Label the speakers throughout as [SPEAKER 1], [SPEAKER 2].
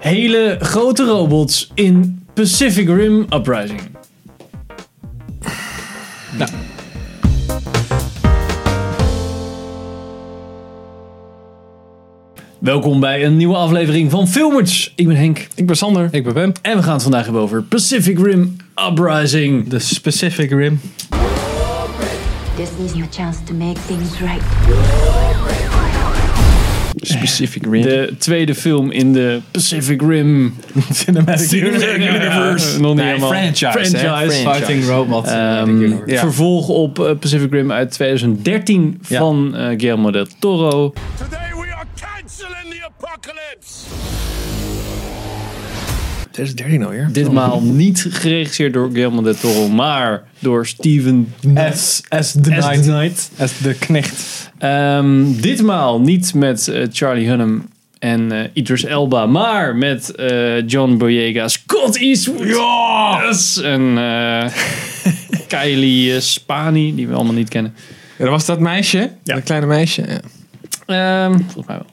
[SPEAKER 1] hele grote robots in Pacific Rim Uprising. Nou. Welkom bij een nieuwe aflevering van Filmers. Ik ben Henk
[SPEAKER 2] Ik ben Sander. Ik ben Ben.
[SPEAKER 1] en we gaan het vandaag hebben over Pacific Rim Uprising.
[SPEAKER 2] De Specific Rim.
[SPEAKER 3] This is your chance to make things right.
[SPEAKER 2] Specific Rim.
[SPEAKER 1] De tweede film in de Pacific Rim
[SPEAKER 2] Cinematic
[SPEAKER 1] Universe.
[SPEAKER 2] Nog niet
[SPEAKER 1] Nee,
[SPEAKER 2] helemaal.
[SPEAKER 1] franchise, hè? Franchise.
[SPEAKER 2] Fighting Robot.
[SPEAKER 1] Ehm, vervolg op eh, Pacific Rim uit 2013
[SPEAKER 2] Ja.
[SPEAKER 1] van eh, Guillermo del Toro.
[SPEAKER 4] Today we are canceling the apocalypse!
[SPEAKER 2] Dat is 13 alweer.
[SPEAKER 1] Ditmaal niet geregisseerd door Guillermo del Toro, maar door Steven
[SPEAKER 2] S. S. The
[SPEAKER 1] S.
[SPEAKER 2] Knight.
[SPEAKER 1] Knight.
[SPEAKER 2] S. De Knecht.
[SPEAKER 1] Ehm, ditmaal niet met eh, Charlie Hunnam en eh, Idris Elba, maar met eh, John Boyega, Scott Eastwood Yes! en eh, Kylie eh, Spani, die we allemaal niet kennen.
[SPEAKER 5] Ja, dat was dat meisje, dat kleine meisje. Ja,
[SPEAKER 1] Ehm, volgens mij wel.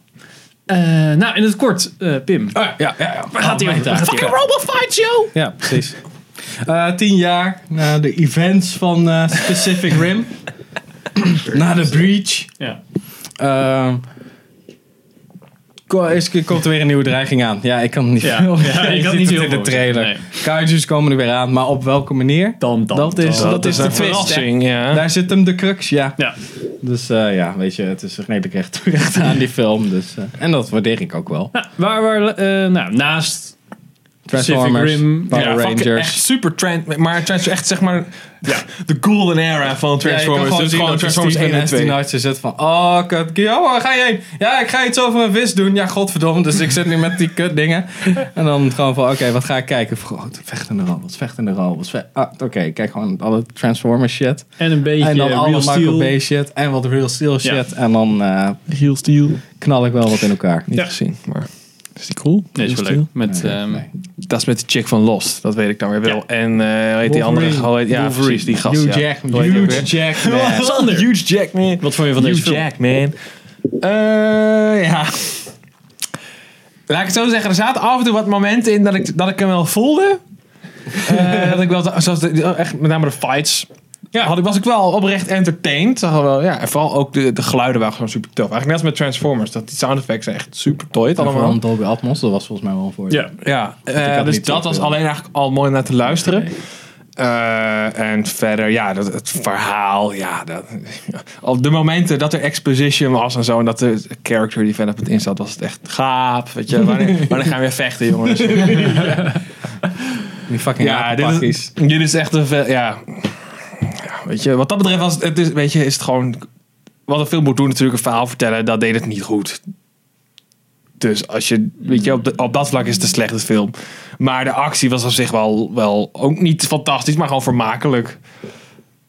[SPEAKER 1] Eh, nou, in het kort, eh, Pim.
[SPEAKER 5] ja,
[SPEAKER 2] Ah,
[SPEAKER 5] ja. ja.
[SPEAKER 1] Waar gaat hij over? Waar gaat hij over?
[SPEAKER 5] Robot Fight Show!
[SPEAKER 2] Ja, precies. Eh, tien jaar na de events van eh, Specific Rim. na de breach.
[SPEAKER 1] Ja.
[SPEAKER 2] Ehm, ko- Eerst komt er weer een nieuwe dreiging aan. Ja, ik kan niet
[SPEAKER 1] Ja.
[SPEAKER 2] veel.
[SPEAKER 1] Ja, ik
[SPEAKER 2] Je
[SPEAKER 1] kan
[SPEAKER 2] ziet
[SPEAKER 1] niet
[SPEAKER 2] het
[SPEAKER 1] heel
[SPEAKER 2] in de
[SPEAKER 1] goed.
[SPEAKER 2] trailer.
[SPEAKER 1] Nee.
[SPEAKER 2] Kaijus komen er weer aan, maar op welke manier?
[SPEAKER 1] Dan, dan,
[SPEAKER 2] Dat is,
[SPEAKER 1] dan.
[SPEAKER 2] dat is
[SPEAKER 5] Dat is
[SPEAKER 2] de
[SPEAKER 5] een
[SPEAKER 2] twist. hè.
[SPEAKER 5] verrassing, ja.
[SPEAKER 2] Daar zit hem de crux, ja.
[SPEAKER 1] Ja.
[SPEAKER 2] Dus eh, ja, weet je, het is redelijk recht toe, recht aan die film. Dus, eh, en dat waardeer ik ook wel.
[SPEAKER 1] Nou, waar, waar, eh, nou, naast
[SPEAKER 2] Transformers,
[SPEAKER 1] Rim.
[SPEAKER 2] Power
[SPEAKER 5] Ja, fucking echt
[SPEAKER 2] Rangers.
[SPEAKER 5] super trend, maar Transformers echt zeg maar de golden era van Transformers. dus gewoon Transformers 1 en 2.
[SPEAKER 2] Nights zit van, oh kut, Guillaume, ga je heen? Ja, ik ga iets over mijn vis doen. Ja, godverdomme, dus ik zit nu met die kut dingen. En dan gewoon van, oké, wat ga ik kijken? Van, oh, vechtende robots, vechtende robots. ve- ah, oké, ik kijk gewoon alle Transformers shit.
[SPEAKER 1] En een beetje
[SPEAKER 2] En dan
[SPEAKER 1] Real
[SPEAKER 2] alle Michael
[SPEAKER 1] Steel.
[SPEAKER 2] Bay shit en wat Real Steel
[SPEAKER 1] Ja.
[SPEAKER 2] shit. En dan eh,
[SPEAKER 5] Heel Steel.
[SPEAKER 2] knal ik wel wat in elkaar.
[SPEAKER 5] Niet
[SPEAKER 1] Ja.
[SPEAKER 5] gezien, maar is die cool?
[SPEAKER 1] Nee, is
[SPEAKER 5] Heel
[SPEAKER 1] wel
[SPEAKER 5] Steel?
[SPEAKER 1] leuk. Met, ehm,
[SPEAKER 2] Nee.
[SPEAKER 5] Dat is met de chick van Lost, dat weet ik dan weer wel.
[SPEAKER 1] Ja.
[SPEAKER 5] En eh hoe heet die andere?
[SPEAKER 2] Wolverine.
[SPEAKER 5] Hoe heet- Ja,
[SPEAKER 1] Wolverine.
[SPEAKER 5] precies, die gast.
[SPEAKER 2] Hugh
[SPEAKER 5] ja.
[SPEAKER 2] Jack,
[SPEAKER 5] Hoe heet die ook weer?
[SPEAKER 2] Hugh Jack, man.
[SPEAKER 1] Sander.
[SPEAKER 5] Huge Jack, man.
[SPEAKER 1] Wat vond je van
[SPEAKER 5] Hugh
[SPEAKER 1] deze film?
[SPEAKER 5] Jack, man. Eh, ja. Laat ik het zo zeggen, er zaten af en toe wat momenten in dat ik, dat ik hem wel voelde. Eh, dat ik wel, zoals de- oh, echt, met name de fights. Ja, had ik, was ik wel oprecht entertained. Zag er wel, ja, en vooral ook de, de geluiden waren gewoon super tof. Eigenlijk net als met Transformers, dat die sound effects zijn echt super toy allemaal.
[SPEAKER 2] Allemaal. Dolby Atmos, dat was volgens mij wel een voordeel.
[SPEAKER 1] Ja.
[SPEAKER 5] Ja, eh,
[SPEAKER 2] had
[SPEAKER 5] dus
[SPEAKER 2] niet
[SPEAKER 5] dat was
[SPEAKER 2] zoveel.
[SPEAKER 5] alleen eigenlijk al mooi om naar te luisteren. Eh, en verder, ja, dat, het verhaal, ja, dat, al de momenten dat er exposition was en zo, en dat er character development in zat, was het echt gaap, weet je, wanneer, wanneer gaan we weer vechten, jongens?
[SPEAKER 2] Die fucking
[SPEAKER 5] ja, dit is, dit is echt een, ve- ja, ja, weet je, wat dat betreft was het, het is, weet je, is het gewoon, wat een film moet doen natuurlijk, een verhaal vertellen, dat deed het niet goed. Dus als je, weet je, op, de- op dat vlak is het een slechte film. Maar de actie was op zich wel, wel ook niet fantastisch, maar gewoon vermakelijk.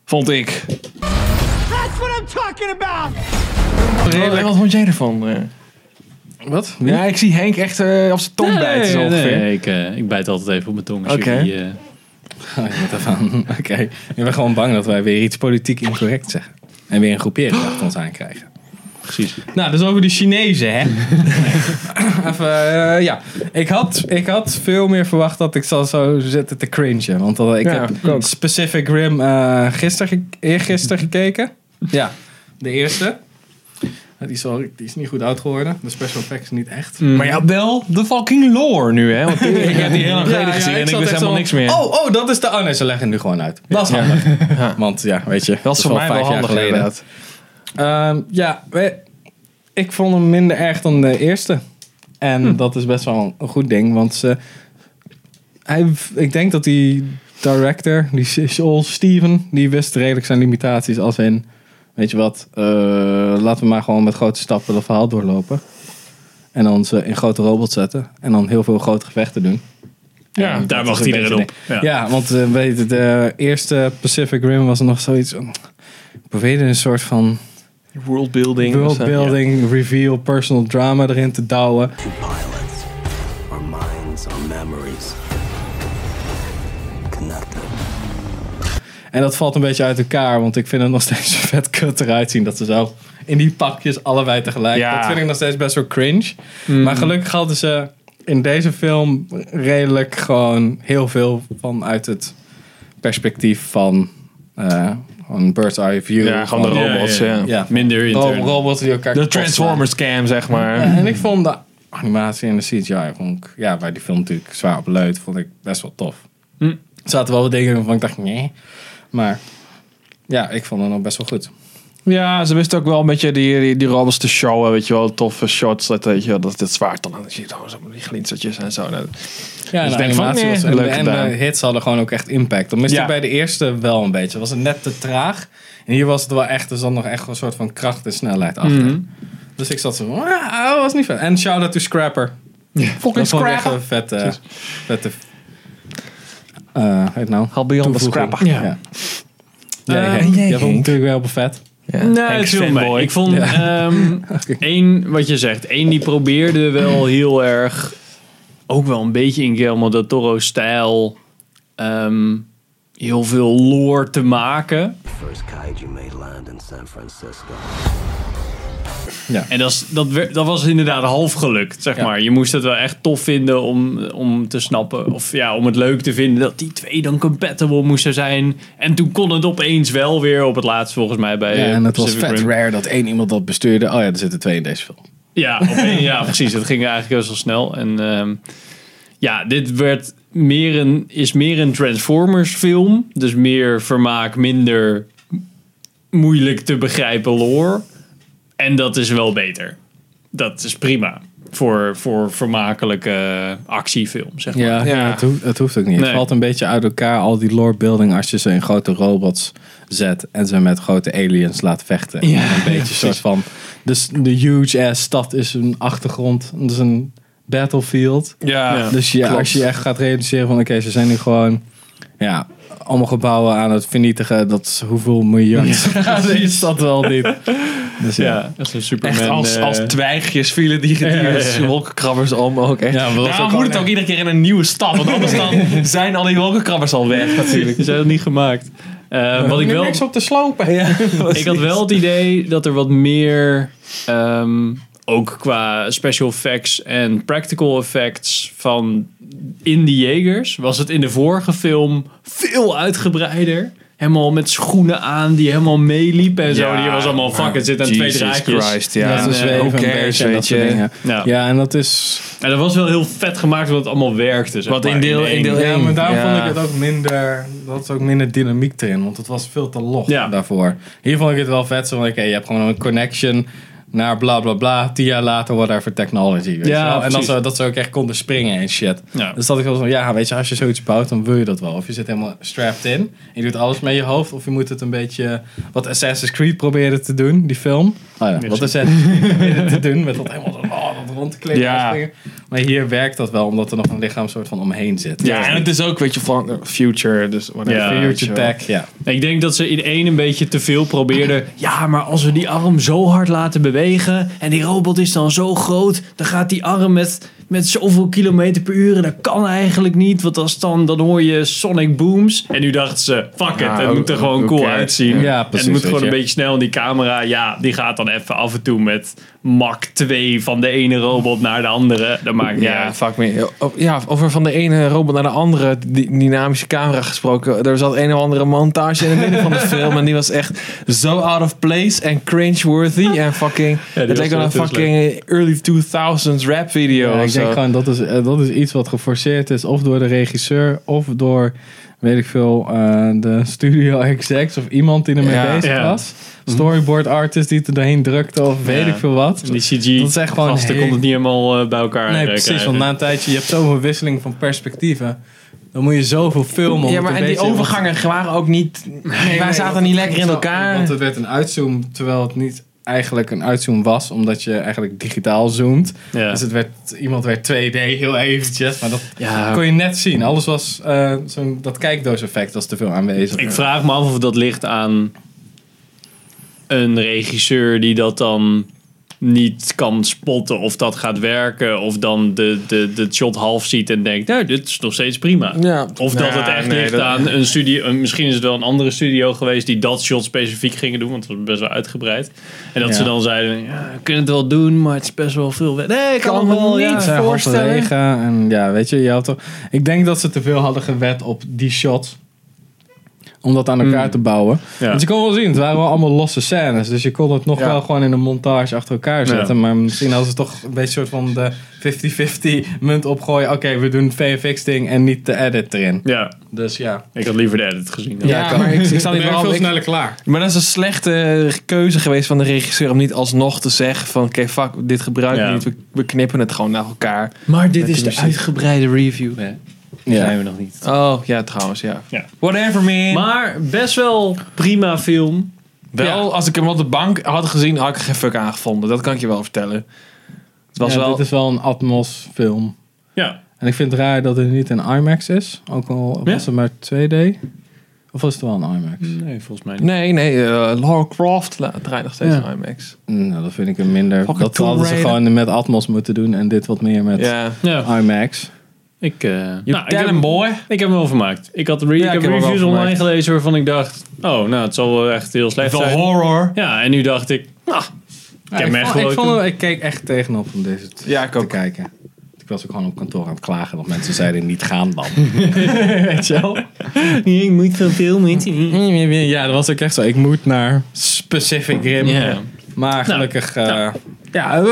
[SPEAKER 5] Vond ik.
[SPEAKER 4] That's what I'm talking about!
[SPEAKER 5] Wat vond jij ervan? eh?
[SPEAKER 2] Wat?
[SPEAKER 5] Ja, ik zie Henk echt eh, op zijn tong bijten zo ongeveer.
[SPEAKER 1] nee, ik, eh, ik bijt altijd even op mijn tong. Als
[SPEAKER 5] Oké.
[SPEAKER 1] jullie, eh,
[SPEAKER 2] Oké, ik ben gewoon bang dat wij weer iets politiek incorrect zeggen. En weer een groepering achter ons aankrijgen.
[SPEAKER 1] precies.
[SPEAKER 2] Nou, dus over de Chinezen, hè? Even, eh, ja. Ik had, ik had veel meer verwacht dat ik zou zo zitten te cringen. Want dat, ik
[SPEAKER 5] Ja,
[SPEAKER 2] heb
[SPEAKER 5] ik ook.
[SPEAKER 2] Specific Rim eh gisteren, ge- eergisteren gekeken. Ja, de eerste. Die is, wel, die is niet goed oud geworden. De special effects niet echt.
[SPEAKER 5] Maar ja, wel de fucking lore nu, hè? Want ik heb die heel lang geleden
[SPEAKER 2] Ja, ja,
[SPEAKER 5] gezien en ik
[SPEAKER 2] zat
[SPEAKER 5] wist
[SPEAKER 2] echt
[SPEAKER 5] helemaal niks
[SPEAKER 2] zo-
[SPEAKER 5] meer.
[SPEAKER 2] Oh, oh, dat is de... Oh nee, ze leggen het nu gewoon uit. Dat is handig. Want ja, weet je.
[SPEAKER 5] dat is voor mij wel handig inderdaad.
[SPEAKER 2] Ehm, ja, we- ik vond hem minder erg dan de eerste. En
[SPEAKER 5] Hm.
[SPEAKER 2] dat is best wel een goed ding, want ze, hij, ik denk dat die director, die Joel Steven, die wist redelijk zijn limitaties als in, weet je wat, eh, laten we maar gewoon met grote stappen dat verhaal doorlopen. En dan ze in grote robots zetten en dan heel veel grote gevechten doen.
[SPEAKER 5] Ja,
[SPEAKER 2] dat
[SPEAKER 1] daar
[SPEAKER 2] is
[SPEAKER 1] wacht
[SPEAKER 2] een
[SPEAKER 1] iedereen
[SPEAKER 2] beetje
[SPEAKER 1] op.
[SPEAKER 2] ding.
[SPEAKER 1] Ja.
[SPEAKER 2] Ja, want eh, weet je, de eerste Pacific Rim was nog zoiets. van- Probeerde een soort van
[SPEAKER 5] Worldbuilding. dus, eh,
[SPEAKER 2] worldbuilding, reveal, personal drama erin te douwen.
[SPEAKER 6] to pilots. Our minds, our memories. Connected.
[SPEAKER 2] En dat valt een beetje uit elkaar, want ik vind het nog steeds vet kut eruit zien dat ze zo in die pakjes allebei tegelijk.
[SPEAKER 5] Ja. Mm.
[SPEAKER 2] Dat vind ik nog steeds best wel cringe. Maar gelukkig hadden ze in deze film redelijk gewoon heel veel vanuit het perspectief van eh een bird's eye view.
[SPEAKER 5] Ja, gewoon de
[SPEAKER 2] Van-
[SPEAKER 1] Ja,
[SPEAKER 5] robots.
[SPEAKER 1] ja, Oh, ja.
[SPEAKER 5] Ja,
[SPEAKER 2] Ja.
[SPEAKER 1] Minder
[SPEAKER 2] Ro-
[SPEAKER 1] intern.
[SPEAKER 2] robots die elkaar
[SPEAKER 5] De
[SPEAKER 2] kapot
[SPEAKER 5] Transformers scam, zeg maar.
[SPEAKER 2] slaan. Ja, en ik vond de animatie en de CGI, vond ik, ja, waar die film natuurlijk zwaar op leut, vond ik best wel tof.
[SPEAKER 1] Hm.
[SPEAKER 2] Er zaten wel wat dingen in waarvan ik dacht, nee. Maar ja, ik vond het nog best wel goed.
[SPEAKER 5] Ja, ze wisten ook wel een beetje die, die, die robots te showen, weet je wel. Toffe shots, dat, weet je wel, dat dit zwaard dan. Dan zie je dan zo die glinstertjes en zo. Nou,
[SPEAKER 2] Ja,
[SPEAKER 5] Dus
[SPEAKER 2] en de
[SPEAKER 5] ik denk van,
[SPEAKER 2] animatie
[SPEAKER 5] nee,
[SPEAKER 2] was en,
[SPEAKER 5] leuk
[SPEAKER 2] de- en
[SPEAKER 5] gedaan.
[SPEAKER 2] de hits hadden gewoon ook echt impact. Dat miste
[SPEAKER 5] Ja.
[SPEAKER 2] ik bij de eerste wel een beetje. Was het net te traag. En hier was het wel echt, er zat nog echt een soort van kracht en snelheid achter.
[SPEAKER 5] Mhm.
[SPEAKER 2] Dus ik zat zo van, ah, dat was niet vet. En shout-out to Scrapper.
[SPEAKER 5] Fucking
[SPEAKER 2] Dat vond ik echt
[SPEAKER 5] scrapper.
[SPEAKER 2] een vette... vette eh, hoe heet het nou?
[SPEAKER 5] Al beyond the
[SPEAKER 2] Toevoeging.
[SPEAKER 5] scrapper.
[SPEAKER 2] Ja. Jij,
[SPEAKER 1] Eh,
[SPEAKER 2] Henk.
[SPEAKER 5] jij,
[SPEAKER 2] Jij vond
[SPEAKER 5] Henk.
[SPEAKER 2] natuurlijk wel op vet.
[SPEAKER 1] Nee,
[SPEAKER 5] Henk
[SPEAKER 1] het viel
[SPEAKER 5] fanboy.
[SPEAKER 1] mee. Ik vond ehm, één, wat je zegt, één die probeerde wel heel erg, ook wel een beetje in Guillermo del Toro-stijl, ehm, heel veel lore te maken.
[SPEAKER 6] First kaiju made land in San Francisco.
[SPEAKER 1] En dat, is- dat, werd- dat was inderdaad half gelukt, zeg
[SPEAKER 2] Ja.
[SPEAKER 1] maar. Je moest het wel echt tof vinden om, om te snappen, of ja, om het leuk te vinden dat die twee dan compatible moesten zijn. En toen kon het opeens wel weer op het laatst, volgens mij, bij
[SPEAKER 2] Ja,
[SPEAKER 1] eh,
[SPEAKER 2] en het was
[SPEAKER 1] Pacific
[SPEAKER 2] vet
[SPEAKER 1] Rim.
[SPEAKER 2] rare dat één iemand dat bestuurde. Oh ja, er zitten twee in deze film.
[SPEAKER 1] Ja, op één- ja precies. Dat ging eigenlijk best wel snel. En ehm, ja, dit werd meer een, is meer een Transformers film. Dus meer vermaak, minder moeilijk te begrijpen lore. En dat is wel beter. Dat is prima. Voor, voor vermakelijke actiefilm, zeg maar.
[SPEAKER 2] Ja,
[SPEAKER 5] Ja.
[SPEAKER 2] Het, hoeft, het hoeft ook niet.
[SPEAKER 1] Nee.
[SPEAKER 2] Het valt een beetje uit elkaar, al die lore building, als je ze in grote robots zet en ze met grote aliens laat vechten.
[SPEAKER 1] Ja,
[SPEAKER 2] En een beetje soort van. Dus de huge ass stad is een achtergrond, dat is een battlefield.
[SPEAKER 5] Ja,
[SPEAKER 1] Ja.
[SPEAKER 2] Dus ja,
[SPEAKER 5] klopt.
[SPEAKER 2] als je echt gaat realiseren van oké, ze zijn nu gewoon ja, allemaal gebouwen aan het vernietigen, dat is hoeveel miljard. is dat wel niet. Dus ja.
[SPEAKER 1] Ja, echt een Superman.
[SPEAKER 5] Echt als,
[SPEAKER 1] eh,
[SPEAKER 5] als twijgjes vielen die
[SPEAKER 1] ja, ja.
[SPEAKER 5] die wolkenkrabbers om ook echt.
[SPEAKER 2] Ja, maar dat was
[SPEAKER 5] Daarom
[SPEAKER 2] ook
[SPEAKER 5] moet
[SPEAKER 2] al
[SPEAKER 5] het ook iedere keer in een nieuwe stad, want anders dan zijn al die wolkenkrabbers al weg natuurlijk.
[SPEAKER 1] die zijn nog niet gemaakt. Eh, wat ik wel...
[SPEAKER 5] op te slopen.
[SPEAKER 1] Ik had wel het idee dat er wat meer, ehm, ook qua special effects en practical effects van in de Jagers, was het in de vorige film veel uitgebreider. Helemaal met schoenen aan die helemaal meeliepen en zo.
[SPEAKER 5] Ja,
[SPEAKER 1] Die was allemaal fuck, het zit aan
[SPEAKER 5] Jesus
[SPEAKER 1] twee draadjes.
[SPEAKER 5] Christ, ja.
[SPEAKER 1] En,
[SPEAKER 5] Dat
[SPEAKER 2] Ze
[SPEAKER 1] eh,
[SPEAKER 2] zweven
[SPEAKER 5] who
[SPEAKER 2] een
[SPEAKER 5] cares,
[SPEAKER 2] beetje en dat
[SPEAKER 5] weet
[SPEAKER 2] soort
[SPEAKER 5] je.
[SPEAKER 2] dingen.
[SPEAKER 1] Ja.
[SPEAKER 2] ja, en dat is
[SPEAKER 1] en dat was wel heel vet gemaakt omdat het allemaal werkte. Zeg
[SPEAKER 5] Wat in
[SPEAKER 1] maar,
[SPEAKER 5] deel-
[SPEAKER 1] één.
[SPEAKER 5] in deel-
[SPEAKER 2] Ja, maar daarom
[SPEAKER 5] Ja.
[SPEAKER 2] vond ik het ook minder. Dat is ook minder dynamiek erin, want het was veel te log
[SPEAKER 1] Ja.
[SPEAKER 2] daarvoor. Hier vond ik het wel vet. Zo van, oké, je hebt gewoon een connection naar bla bla bla. Tien jaar later, whatever technology. Weet
[SPEAKER 1] Ja,
[SPEAKER 2] je wel? En dat
[SPEAKER 1] precies.
[SPEAKER 2] ze, dat ze ook echt konden springen en shit.
[SPEAKER 1] Ja.
[SPEAKER 2] Dus dat ik wel zo van, ja, weet je, als je zoiets bouwt, dan wil je dat wel. Of je zit helemaal strapped in en je doet alles met je hoofd. Of je moet het een beetje, wat Assassin's Creed probeerde te doen, die film. Oh ja, wat Assassin's Creed probeerde te doen, met dat helemaal zo, oh, dat rond te klikken
[SPEAKER 5] Ja.
[SPEAKER 2] en springen. Maar hier werkt dat wel, omdat er nog een lichaam soort van omheen zit.
[SPEAKER 5] Ja, en het is ook, weet je, van eh, Future, dus whatever.
[SPEAKER 1] Ja,
[SPEAKER 5] weet je
[SPEAKER 2] Future
[SPEAKER 5] wel.
[SPEAKER 2] Tech, ja.
[SPEAKER 1] Nou, Ik denk dat ze in één een beetje te veel probeerden. Ja, maar als we die arm zo hard laten bewegen. en die robot is dan zo groot. dan gaat die arm met, met zoveel kilometer per uur. en dat kan eigenlijk niet. Want als dan, dan hoor je Sonic Booms. En nu dachten ze: fuck it,
[SPEAKER 5] Ja,
[SPEAKER 1] het moet er
[SPEAKER 5] who-
[SPEAKER 1] gewoon
[SPEAKER 5] who
[SPEAKER 1] cool
[SPEAKER 5] cares?
[SPEAKER 1] uitzien.
[SPEAKER 2] Nou, Ja,
[SPEAKER 1] en
[SPEAKER 2] precies,
[SPEAKER 1] het moet
[SPEAKER 2] weet
[SPEAKER 1] gewoon een
[SPEAKER 2] je.
[SPEAKER 1] beetje snel. En die camera, ja, die gaat dan even af en toe met Mach 2 van de ene robot naar de andere. Dat maakt niet
[SPEAKER 5] Ja,
[SPEAKER 1] uit.
[SPEAKER 5] vaak meer. O- oh, Ja, over van de ene robot naar de andere di- dynamische camera gesproken. Er zat een of andere montage in het midden van de film. En die was echt zo out of place en cringe-worthy. En fucking. het
[SPEAKER 1] was
[SPEAKER 5] leek wel een
[SPEAKER 1] echt heel
[SPEAKER 5] fucking early 2000s rap video.
[SPEAKER 2] Ja,
[SPEAKER 5] of
[SPEAKER 2] ik
[SPEAKER 5] zo.
[SPEAKER 2] denk gewoon dat is, eh, dat is iets wat geforceerd is, of door de regisseur, of door, weet ik veel, eh, de studio execs, of iemand die ermee
[SPEAKER 5] Ja. Mhm.
[SPEAKER 2] bezig
[SPEAKER 1] Ja.
[SPEAKER 2] was. Storyboard artist die het er doorheen drukte, of weet
[SPEAKER 1] Ja.
[SPEAKER 2] ik veel wat.
[SPEAKER 1] Die CG,
[SPEAKER 2] Dat is echt gewoon
[SPEAKER 1] gasten
[SPEAKER 2] heel-
[SPEAKER 1] kon het niet helemaal eh, bij elkaar
[SPEAKER 2] Nee,
[SPEAKER 1] eh,
[SPEAKER 2] precies,
[SPEAKER 1] krijgen.
[SPEAKER 2] want na een tijdje, je hebt zoveel wisseling van perspectieven. Dan moet je zoveel filmen. om
[SPEAKER 5] Ja,
[SPEAKER 2] het
[SPEAKER 5] maar
[SPEAKER 2] een
[SPEAKER 5] en die
[SPEAKER 2] beetje-
[SPEAKER 5] overgangen waren ook niet. wij zaten niet lekker in elkaar.
[SPEAKER 2] Want het werd een uitzoom, terwijl het niet eigenlijk een uitzoom was, omdat je eigenlijk digitaal zoomt.
[SPEAKER 1] Ja.
[SPEAKER 2] Dus het werd, iemand werd 2D heel eventjes, maar dat
[SPEAKER 1] Ja.
[SPEAKER 2] kon je net zien. Alles was, eh, zo'n, dat kijkdooseffect was te veel aanwezig.
[SPEAKER 1] Ik vraag me af of dat ligt aan een regisseur die dat dan niet kan spotten of dat gaat werken. Of dan de, de, de shot half ziet en denkt, nou, dit is nog steeds prima.
[SPEAKER 5] Ja.
[SPEAKER 1] Of dat
[SPEAKER 5] Ja,
[SPEAKER 1] het echt
[SPEAKER 5] nee,
[SPEAKER 1] ligt
[SPEAKER 5] dat-
[SPEAKER 1] aan een studio. een- Misschien is het wel een andere studio geweest die dat shot specifiek gingen doen. Want het was best wel uitgebreid. En dat
[SPEAKER 2] Ja.
[SPEAKER 1] ze dan zeiden, ja, we kunnen het wel doen, maar het is best wel veel. werk." Nee, ik kan,
[SPEAKER 5] Kan
[SPEAKER 1] me wel
[SPEAKER 5] me
[SPEAKER 1] niet
[SPEAKER 5] niet
[SPEAKER 2] Zij
[SPEAKER 1] voorstellen.
[SPEAKER 2] halverwege en ja, weet je, je had toch... Ik denk dat ze te veel hadden gewet op die shot. Om dat aan
[SPEAKER 1] Hmm.
[SPEAKER 2] elkaar te bouwen.
[SPEAKER 1] Ja.
[SPEAKER 2] Want je kon wel zien, het waren wel allemaal losse scènes. Dus je kon het nog wel gewoon in een montage achter elkaar zetten.
[SPEAKER 1] Ja.
[SPEAKER 2] Maar misschien hadden ze toch een beetje soort van de 50-50 munt opgooien. Oké, we doen VFX ding en niet de edit erin.
[SPEAKER 1] Ja,
[SPEAKER 2] Dus ja.
[SPEAKER 1] ik had liever de edit gezien.
[SPEAKER 5] Ja, ik kan- ik- ik sta er wel- ik-
[SPEAKER 2] klaar.
[SPEAKER 5] Maar dat is een slechte keuze geweest van de regisseur om niet alsnog te zeggen van oké, fuck, dit gebruiken we
[SPEAKER 1] Ja.
[SPEAKER 5] niet. We, we knippen het gewoon naar elkaar.
[SPEAKER 1] Maar dit is
[SPEAKER 5] de
[SPEAKER 1] de uitgebreide review, hè? Zijn we nog niet.
[SPEAKER 5] Oh, ja, trouwens, ja.
[SPEAKER 1] Ja.
[SPEAKER 5] Whatever, man.
[SPEAKER 1] Maar best wel prima film.
[SPEAKER 5] wel, als ik hem op de bank had gezien, had ik er geen fuck aangevonden. Dat kan ik je wel vertellen. Het was
[SPEAKER 2] Ja,
[SPEAKER 5] wel...
[SPEAKER 2] Dit is wel een Atmos film.
[SPEAKER 1] Ja.
[SPEAKER 2] En ik vind het raar dat het niet een IMAX is. Ook al
[SPEAKER 1] Ja.
[SPEAKER 2] was het maar 2D. Of was het wel een IMAX?
[SPEAKER 1] Nee, volgens mij niet.
[SPEAKER 5] Nee, nee, eh, Lara Croft la- draait nog steeds
[SPEAKER 1] Ja.
[SPEAKER 5] IMAX.
[SPEAKER 2] Nou, dat vind ik een minder.
[SPEAKER 5] Hmm. Fucking
[SPEAKER 2] dat
[SPEAKER 5] Tomb
[SPEAKER 2] hadden ze
[SPEAKER 5] Raider.
[SPEAKER 2] gewoon met Atmos moeten doen en dit wat meer met
[SPEAKER 5] Ja.
[SPEAKER 1] Ja,
[SPEAKER 2] IMAX.
[SPEAKER 1] ik, eh nou, ik,
[SPEAKER 5] Tell
[SPEAKER 1] heb,
[SPEAKER 5] him, boy.
[SPEAKER 1] ik heb hem wel vermaakt. Ik, had re-
[SPEAKER 5] Ja,
[SPEAKER 1] ik
[SPEAKER 5] ik
[SPEAKER 1] heb
[SPEAKER 5] heb hem wel
[SPEAKER 1] reviews online
[SPEAKER 5] vermaakt.
[SPEAKER 1] gelezen waarvan ik dacht... Oh, nou, het zal wel echt heel slecht
[SPEAKER 5] Wel
[SPEAKER 1] zijn.
[SPEAKER 5] horror.
[SPEAKER 1] Ja, en nu dacht ik... Nou, ik heb hem echt
[SPEAKER 2] vond, ik,
[SPEAKER 1] wel...
[SPEAKER 2] vond hem- ik keek echt tegenop om deze te,
[SPEAKER 5] Ja, ik
[SPEAKER 2] te
[SPEAKER 5] ook.
[SPEAKER 2] kijken. Ik was ook gewoon op kantoor aan het klagen dat mensen zeiden niet gaan dan. Weet je wel?
[SPEAKER 1] Ik moet veel filmen.
[SPEAKER 2] Ja, dat was ook echt zo. Ik moet naar Specific Rim.
[SPEAKER 1] Ja.
[SPEAKER 2] Maar
[SPEAKER 1] Nou,
[SPEAKER 2] gelukkig... eh, ja, we, we- ja,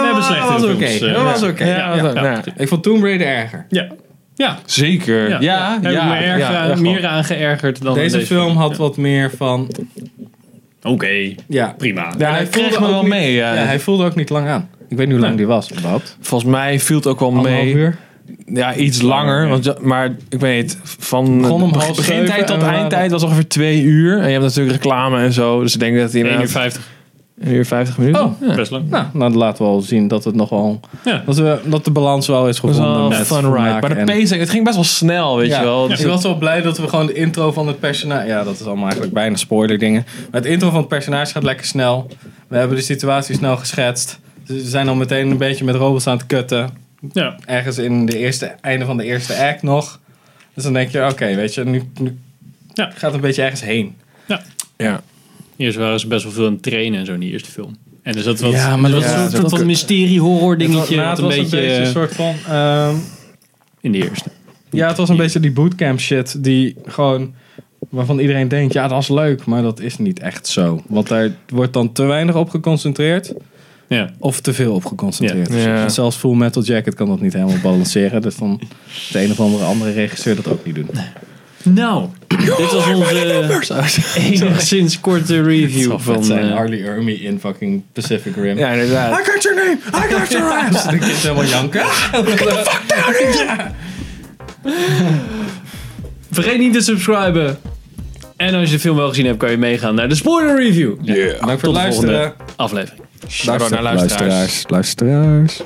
[SPEAKER 1] We hebben slechte
[SPEAKER 2] was oké.
[SPEAKER 1] films, eh,
[SPEAKER 2] Dat was oké.
[SPEAKER 5] Ja,
[SPEAKER 2] ja.
[SPEAKER 5] dat-
[SPEAKER 1] ja.
[SPEAKER 5] nou,
[SPEAKER 2] Ik vond Tomb Raider erger.
[SPEAKER 1] Ja. Ja.
[SPEAKER 5] Zeker. Ja, ja.
[SPEAKER 1] Heb ik me erg eh,
[SPEAKER 5] ja,
[SPEAKER 1] aan-
[SPEAKER 5] echt wel.
[SPEAKER 1] meer aan geërgerd dan
[SPEAKER 2] Deze
[SPEAKER 1] aan
[SPEAKER 2] film had wat meer van...
[SPEAKER 1] Oké,
[SPEAKER 2] Ja,
[SPEAKER 1] prima.
[SPEAKER 5] Ja, hij
[SPEAKER 2] voelde
[SPEAKER 5] kreeg me
[SPEAKER 2] ook
[SPEAKER 5] wel
[SPEAKER 2] niet-
[SPEAKER 5] mee.
[SPEAKER 2] ja,
[SPEAKER 5] Ja.
[SPEAKER 2] hij voelde ook niet lang aan. Ik weet niet hoe lang die was, überhaupt.
[SPEAKER 5] Volgens mij viel het ook wel mee.
[SPEAKER 2] uur.
[SPEAKER 5] Ja, iets langer.
[SPEAKER 1] ja.
[SPEAKER 5] Want, ja- maar ik weet niet, van
[SPEAKER 2] Begon om
[SPEAKER 5] beg-
[SPEAKER 2] half zeven
[SPEAKER 5] begintijd
[SPEAKER 2] en
[SPEAKER 5] tot
[SPEAKER 2] we waren-
[SPEAKER 5] eindtijd was ongeveer twee uur. En je hebt natuurlijk reclame en zo. Dus ik denk dat hij
[SPEAKER 1] 1 uur
[SPEAKER 5] inderdaad
[SPEAKER 1] 50.
[SPEAKER 5] een uur vijftig minuten.
[SPEAKER 2] Oh,
[SPEAKER 5] ja.
[SPEAKER 1] Best lang.
[SPEAKER 2] Nou, nou, dat laten we al zien dat het nog wel...
[SPEAKER 1] Ja.
[SPEAKER 2] Dat, we, dat de balans wel is
[SPEAKER 5] Dat was
[SPEAKER 2] gevonden.
[SPEAKER 5] wel een
[SPEAKER 2] met
[SPEAKER 5] fun
[SPEAKER 2] vermaak
[SPEAKER 5] ride. Maar de
[SPEAKER 2] en-
[SPEAKER 5] pacing, het ging best wel snel, weet
[SPEAKER 2] Ja,
[SPEAKER 5] je wel.
[SPEAKER 2] dus
[SPEAKER 5] Dus
[SPEAKER 2] ik was wel blij dat we gewoon de intro van het personage... Ja, dat is allemaal eigenlijk bijna spoiler dingen. Maar het intro van het personage gaat lekker snel. We hebben de situatie snel geschetst. Ze zijn al meteen een beetje met robots aan het kutten.
[SPEAKER 1] Ja.
[SPEAKER 2] ergens in de eerste, einde van de eerste act nog. Dus dan denk je, oké, weet je, nu, nu
[SPEAKER 1] Ja.
[SPEAKER 2] gaat het een beetje ergens heen.
[SPEAKER 5] Ja.
[SPEAKER 1] Eerst waren ze best wel veel aan het trainen en zo in die eerste film. En dus dat wat,
[SPEAKER 2] Ja,
[SPEAKER 1] ja,
[SPEAKER 2] maar
[SPEAKER 1] maar dat
[SPEAKER 2] dat-
[SPEAKER 1] was
[SPEAKER 2] ja,
[SPEAKER 1] een
[SPEAKER 2] dat
[SPEAKER 1] soort
[SPEAKER 2] ook-
[SPEAKER 1] van mysterie-horror dingetje.
[SPEAKER 2] Nou,
[SPEAKER 1] wat een beetje,
[SPEAKER 2] een soort van... ehm,
[SPEAKER 1] in de eerste.
[SPEAKER 2] ja, het was een beetje die bootcamp shit die gewoon... Waarvan iedereen denkt, ja, dat is leuk, maar dat is niet echt zo. Want daar wordt dan te weinig op geconcentreerd
[SPEAKER 1] Ja.
[SPEAKER 2] of te veel op geconcentreerd.
[SPEAKER 5] Ja. Ja.
[SPEAKER 2] En Zelfs Full Metal Jacket kan dat niet helemaal balanceren. Dus dan de een of andere andere regisseur dat ook niet doen.
[SPEAKER 1] Nou, dit was onze enigszins korte
[SPEAKER 2] Oh, Het
[SPEAKER 1] review
[SPEAKER 2] zou vet
[SPEAKER 1] van...
[SPEAKER 2] zijn,
[SPEAKER 1] eh,
[SPEAKER 2] Harley Ermy in fucking Pacific Rim.
[SPEAKER 5] Ja, inderdaad.
[SPEAKER 2] got your name! I got your ass! Ik is helemaal janken.
[SPEAKER 1] vergeet niet te subscriben. En als je de film wel gezien hebt, kan je meegaan naar de spoiler review.
[SPEAKER 5] Yeah.
[SPEAKER 2] Dank voor
[SPEAKER 1] Tot
[SPEAKER 2] het
[SPEAKER 1] de volgende
[SPEAKER 2] luisteren.
[SPEAKER 1] aflevering.
[SPEAKER 5] Shout-out naar luisteraars.
[SPEAKER 2] Luisteraars.